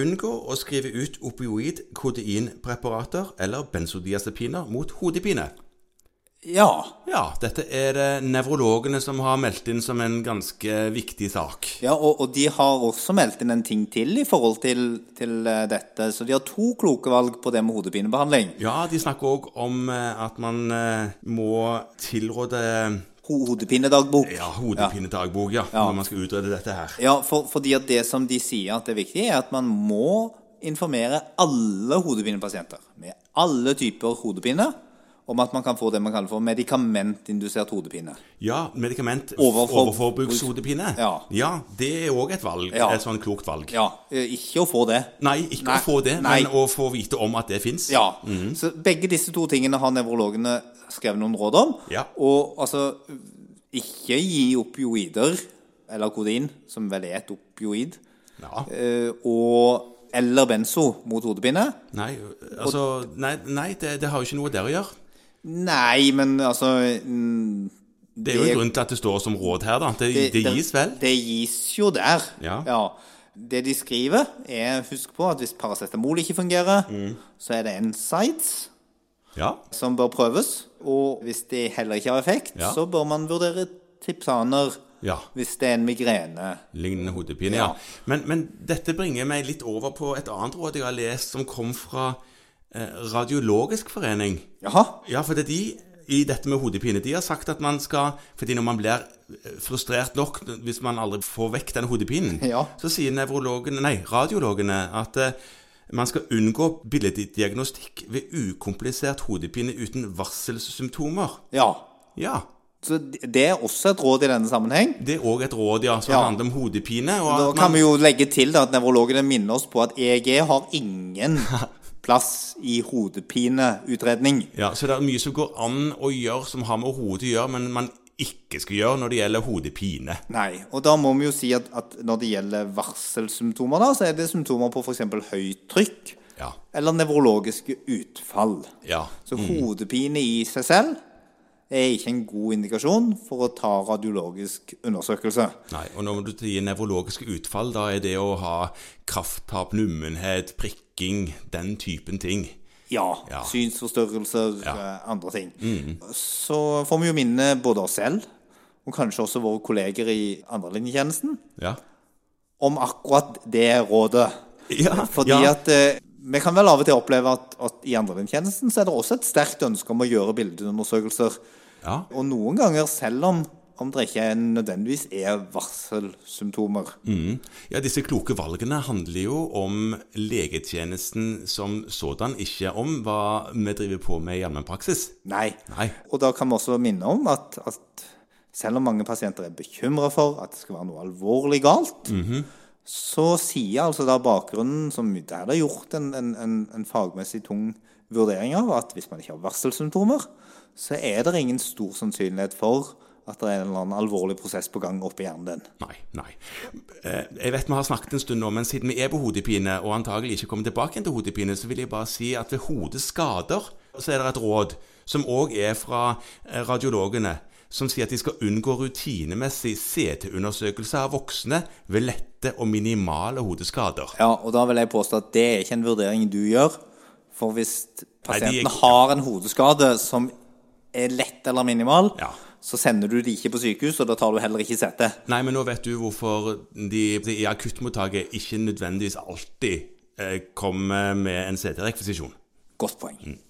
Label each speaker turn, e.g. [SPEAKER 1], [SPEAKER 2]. [SPEAKER 1] unngå å skrive ut opioid-kodeinpreparater eller benzodiazepiner mot hodepine.
[SPEAKER 2] Ja.
[SPEAKER 1] Ja, dette er det nevrologene som har meldt inn som en ganske viktig sak.
[SPEAKER 2] ja og, og de har også meldt inn en ting til i forhold til, til eh, dette. Så de har to kloke valg på det med hodepinebehandling.
[SPEAKER 1] Ja, de snakker òg om eh, at man eh, må tilråde
[SPEAKER 2] Ho hodepinedagbok.
[SPEAKER 1] ja, hodepinedagbok ja,
[SPEAKER 2] Ja.
[SPEAKER 1] når man skal utrede dette her.
[SPEAKER 2] Ja, for, fordi at det som de sier at det er viktig, er at man må informere alle hodepinepasienter med alle typer hodepine om at man kan få det man kaller for medikamentindusert hodepine.
[SPEAKER 1] Ja, medikament
[SPEAKER 2] Overfor-
[SPEAKER 1] overforbrukshodepine.
[SPEAKER 2] Ja.
[SPEAKER 1] det er òg et valg.
[SPEAKER 2] Ja.
[SPEAKER 1] Et sånn klokt valg.
[SPEAKER 2] Ja, eh, ikke å få det.
[SPEAKER 1] Nei, ikke
[SPEAKER 2] Nei.
[SPEAKER 1] å få det,
[SPEAKER 2] Nei.
[SPEAKER 1] men å få vite om at det fins.
[SPEAKER 2] Ja,
[SPEAKER 1] Mhm.
[SPEAKER 2] så begge disse to tingene har nevrologene skrevet noen råd om.
[SPEAKER 1] Ja.
[SPEAKER 2] Og altså, ikke gi opioider, eller kodein, som vel er et opioid,
[SPEAKER 1] Ja.
[SPEAKER 2] eh, og, eller benzo mot hodepine.
[SPEAKER 1] Nei, altså Nei, nei det, det har jo ikke noe der å gjøre.
[SPEAKER 2] Nei, men altså
[SPEAKER 1] Det er jo
[SPEAKER 2] Det-
[SPEAKER 1] en grunn til at det står som råd her, da. Det, det, gis vel?
[SPEAKER 2] Det gis jo der.
[SPEAKER 1] Ja.
[SPEAKER 2] Det de skriver, er husk på at hvis paracetamol ikke fungerer,
[SPEAKER 1] Mm.
[SPEAKER 2] så er det NSIDES
[SPEAKER 1] Ja.
[SPEAKER 2] som bør prøves. Og hvis det heller ikke har effekt,
[SPEAKER 1] Ja.
[SPEAKER 2] så bør man vurdere Tripsaner
[SPEAKER 1] Ja.
[SPEAKER 2] hvis det er en migrene.
[SPEAKER 1] Lignende hodepine, ja.
[SPEAKER 2] Ja.
[SPEAKER 1] Men, men dette bringer meg litt over på et annet råd jeg har lest, som kom fra eh, Radiologisk forening.
[SPEAKER 2] Jaha.
[SPEAKER 1] Ja, for det er de i dette med hodepine, de har sagt at man skal Fordi når man blir eh, frustrert nok hvis man aldri får vekk den hodepinen,
[SPEAKER 2] Ja.
[SPEAKER 1] så sier nevrologene, nei, radiologene, at eh, man skal unngå billeddiagnostikk ved ukomplisert hodepine uten varselsymptomer.
[SPEAKER 2] Ja.
[SPEAKER 1] Ja.
[SPEAKER 2] Så det er også et råd i denne sammenheng.
[SPEAKER 1] Det er òg et råd, ja, som
[SPEAKER 2] Ja.
[SPEAKER 1] handler om hodepine. Og
[SPEAKER 2] Da
[SPEAKER 1] at
[SPEAKER 2] kan
[SPEAKER 1] man,
[SPEAKER 2] vi jo legge til da, at nevrologene minner oss på at EEG har ingen plass i hodepineutredning.
[SPEAKER 1] ja, så det er mye som går an å gjøre som har med hodet å gjøre, men man ikke skal gjøre når det gjelder hodepine.
[SPEAKER 2] Nei, og da må vi jo si at, at når det gjelder varselsymptomer, da, så er det symptomer på f.eks. høyt trykk
[SPEAKER 1] Ja.
[SPEAKER 2] eller nevrologiske utfall.
[SPEAKER 1] Ja.
[SPEAKER 2] Så hodepine i seg selv er ikke en god indikasjon for å ta radiologisk undersøkelse.
[SPEAKER 1] Nei, og når du sier nevrologiske utfall, da er det å ha krafttap, nummenhet, prikking, den typen ting.
[SPEAKER 2] Ja.
[SPEAKER 1] Ja.
[SPEAKER 2] Synsforstørrelser,
[SPEAKER 1] Ja. Mm.
[SPEAKER 2] eh, andre ting. Så får vi jo minne både oss selv, og kanskje også våre kolleger i andrelinjetjenesten,
[SPEAKER 1] Ja.
[SPEAKER 2] om akkurat det rådet.
[SPEAKER 1] Ja,
[SPEAKER 2] Fordi
[SPEAKER 1] ja.
[SPEAKER 2] at eh, vi kan vel av og til oppleve at, at i andrelinjetjenesten så er det også et sterkt ønske om å gjøre bildeundersøkelser.
[SPEAKER 1] ja.
[SPEAKER 2] Og noen ganger, selv om, om det ikke er, nødvendigvis er varselsymptomer.
[SPEAKER 1] Mm. ja, disse kloke valgene handler jo om legetjenesten som sådan, ikke om hva vi driver på med i allmennpraksis.
[SPEAKER 2] Nei.
[SPEAKER 1] Nei.
[SPEAKER 2] Og da kan vi også minne om at, at selv om mange pasienter er bekymra for at det skal være noe alvorlig galt, så sier altså da bakgrunnen, som der det er gjort en, en, en, en fagmessig tung vurdering av, at hvis man ikke har varselsymptomer, så er det ingen stor sannsynlighet for at det er en eller annen alvorlig prosess på gang oppi hjernen din.
[SPEAKER 1] Nei, nei. Eh, Jeg vet vi har snakket en stund nå, men siden vi er på hodepine, og antagelig ikke kommer tilbake igjen til hodepine, så vil jeg bare si at ved hodeskader så er det et råd, som òg er fra eh, radiologene, som sier at de skal unngå rutinemessig CT-undersøkelse av voksne ved lette og minimale hodeskader.
[SPEAKER 2] Ja, og da vil jeg påstå at det er ikke en vurdering du gjør, for hvis pasienten
[SPEAKER 1] ikke-
[SPEAKER 2] har en hodeskade som er lett eller minimal,
[SPEAKER 1] Ja.
[SPEAKER 2] så sender du de ikke på sykehus, og da tar du heller ikke CT.
[SPEAKER 1] Nei, men nå vet du hvorfor de, de i akuttmottaket ikke nødvendigvis alltid eh, kommer med en CT-rekvisisjon.
[SPEAKER 2] Godt poeng.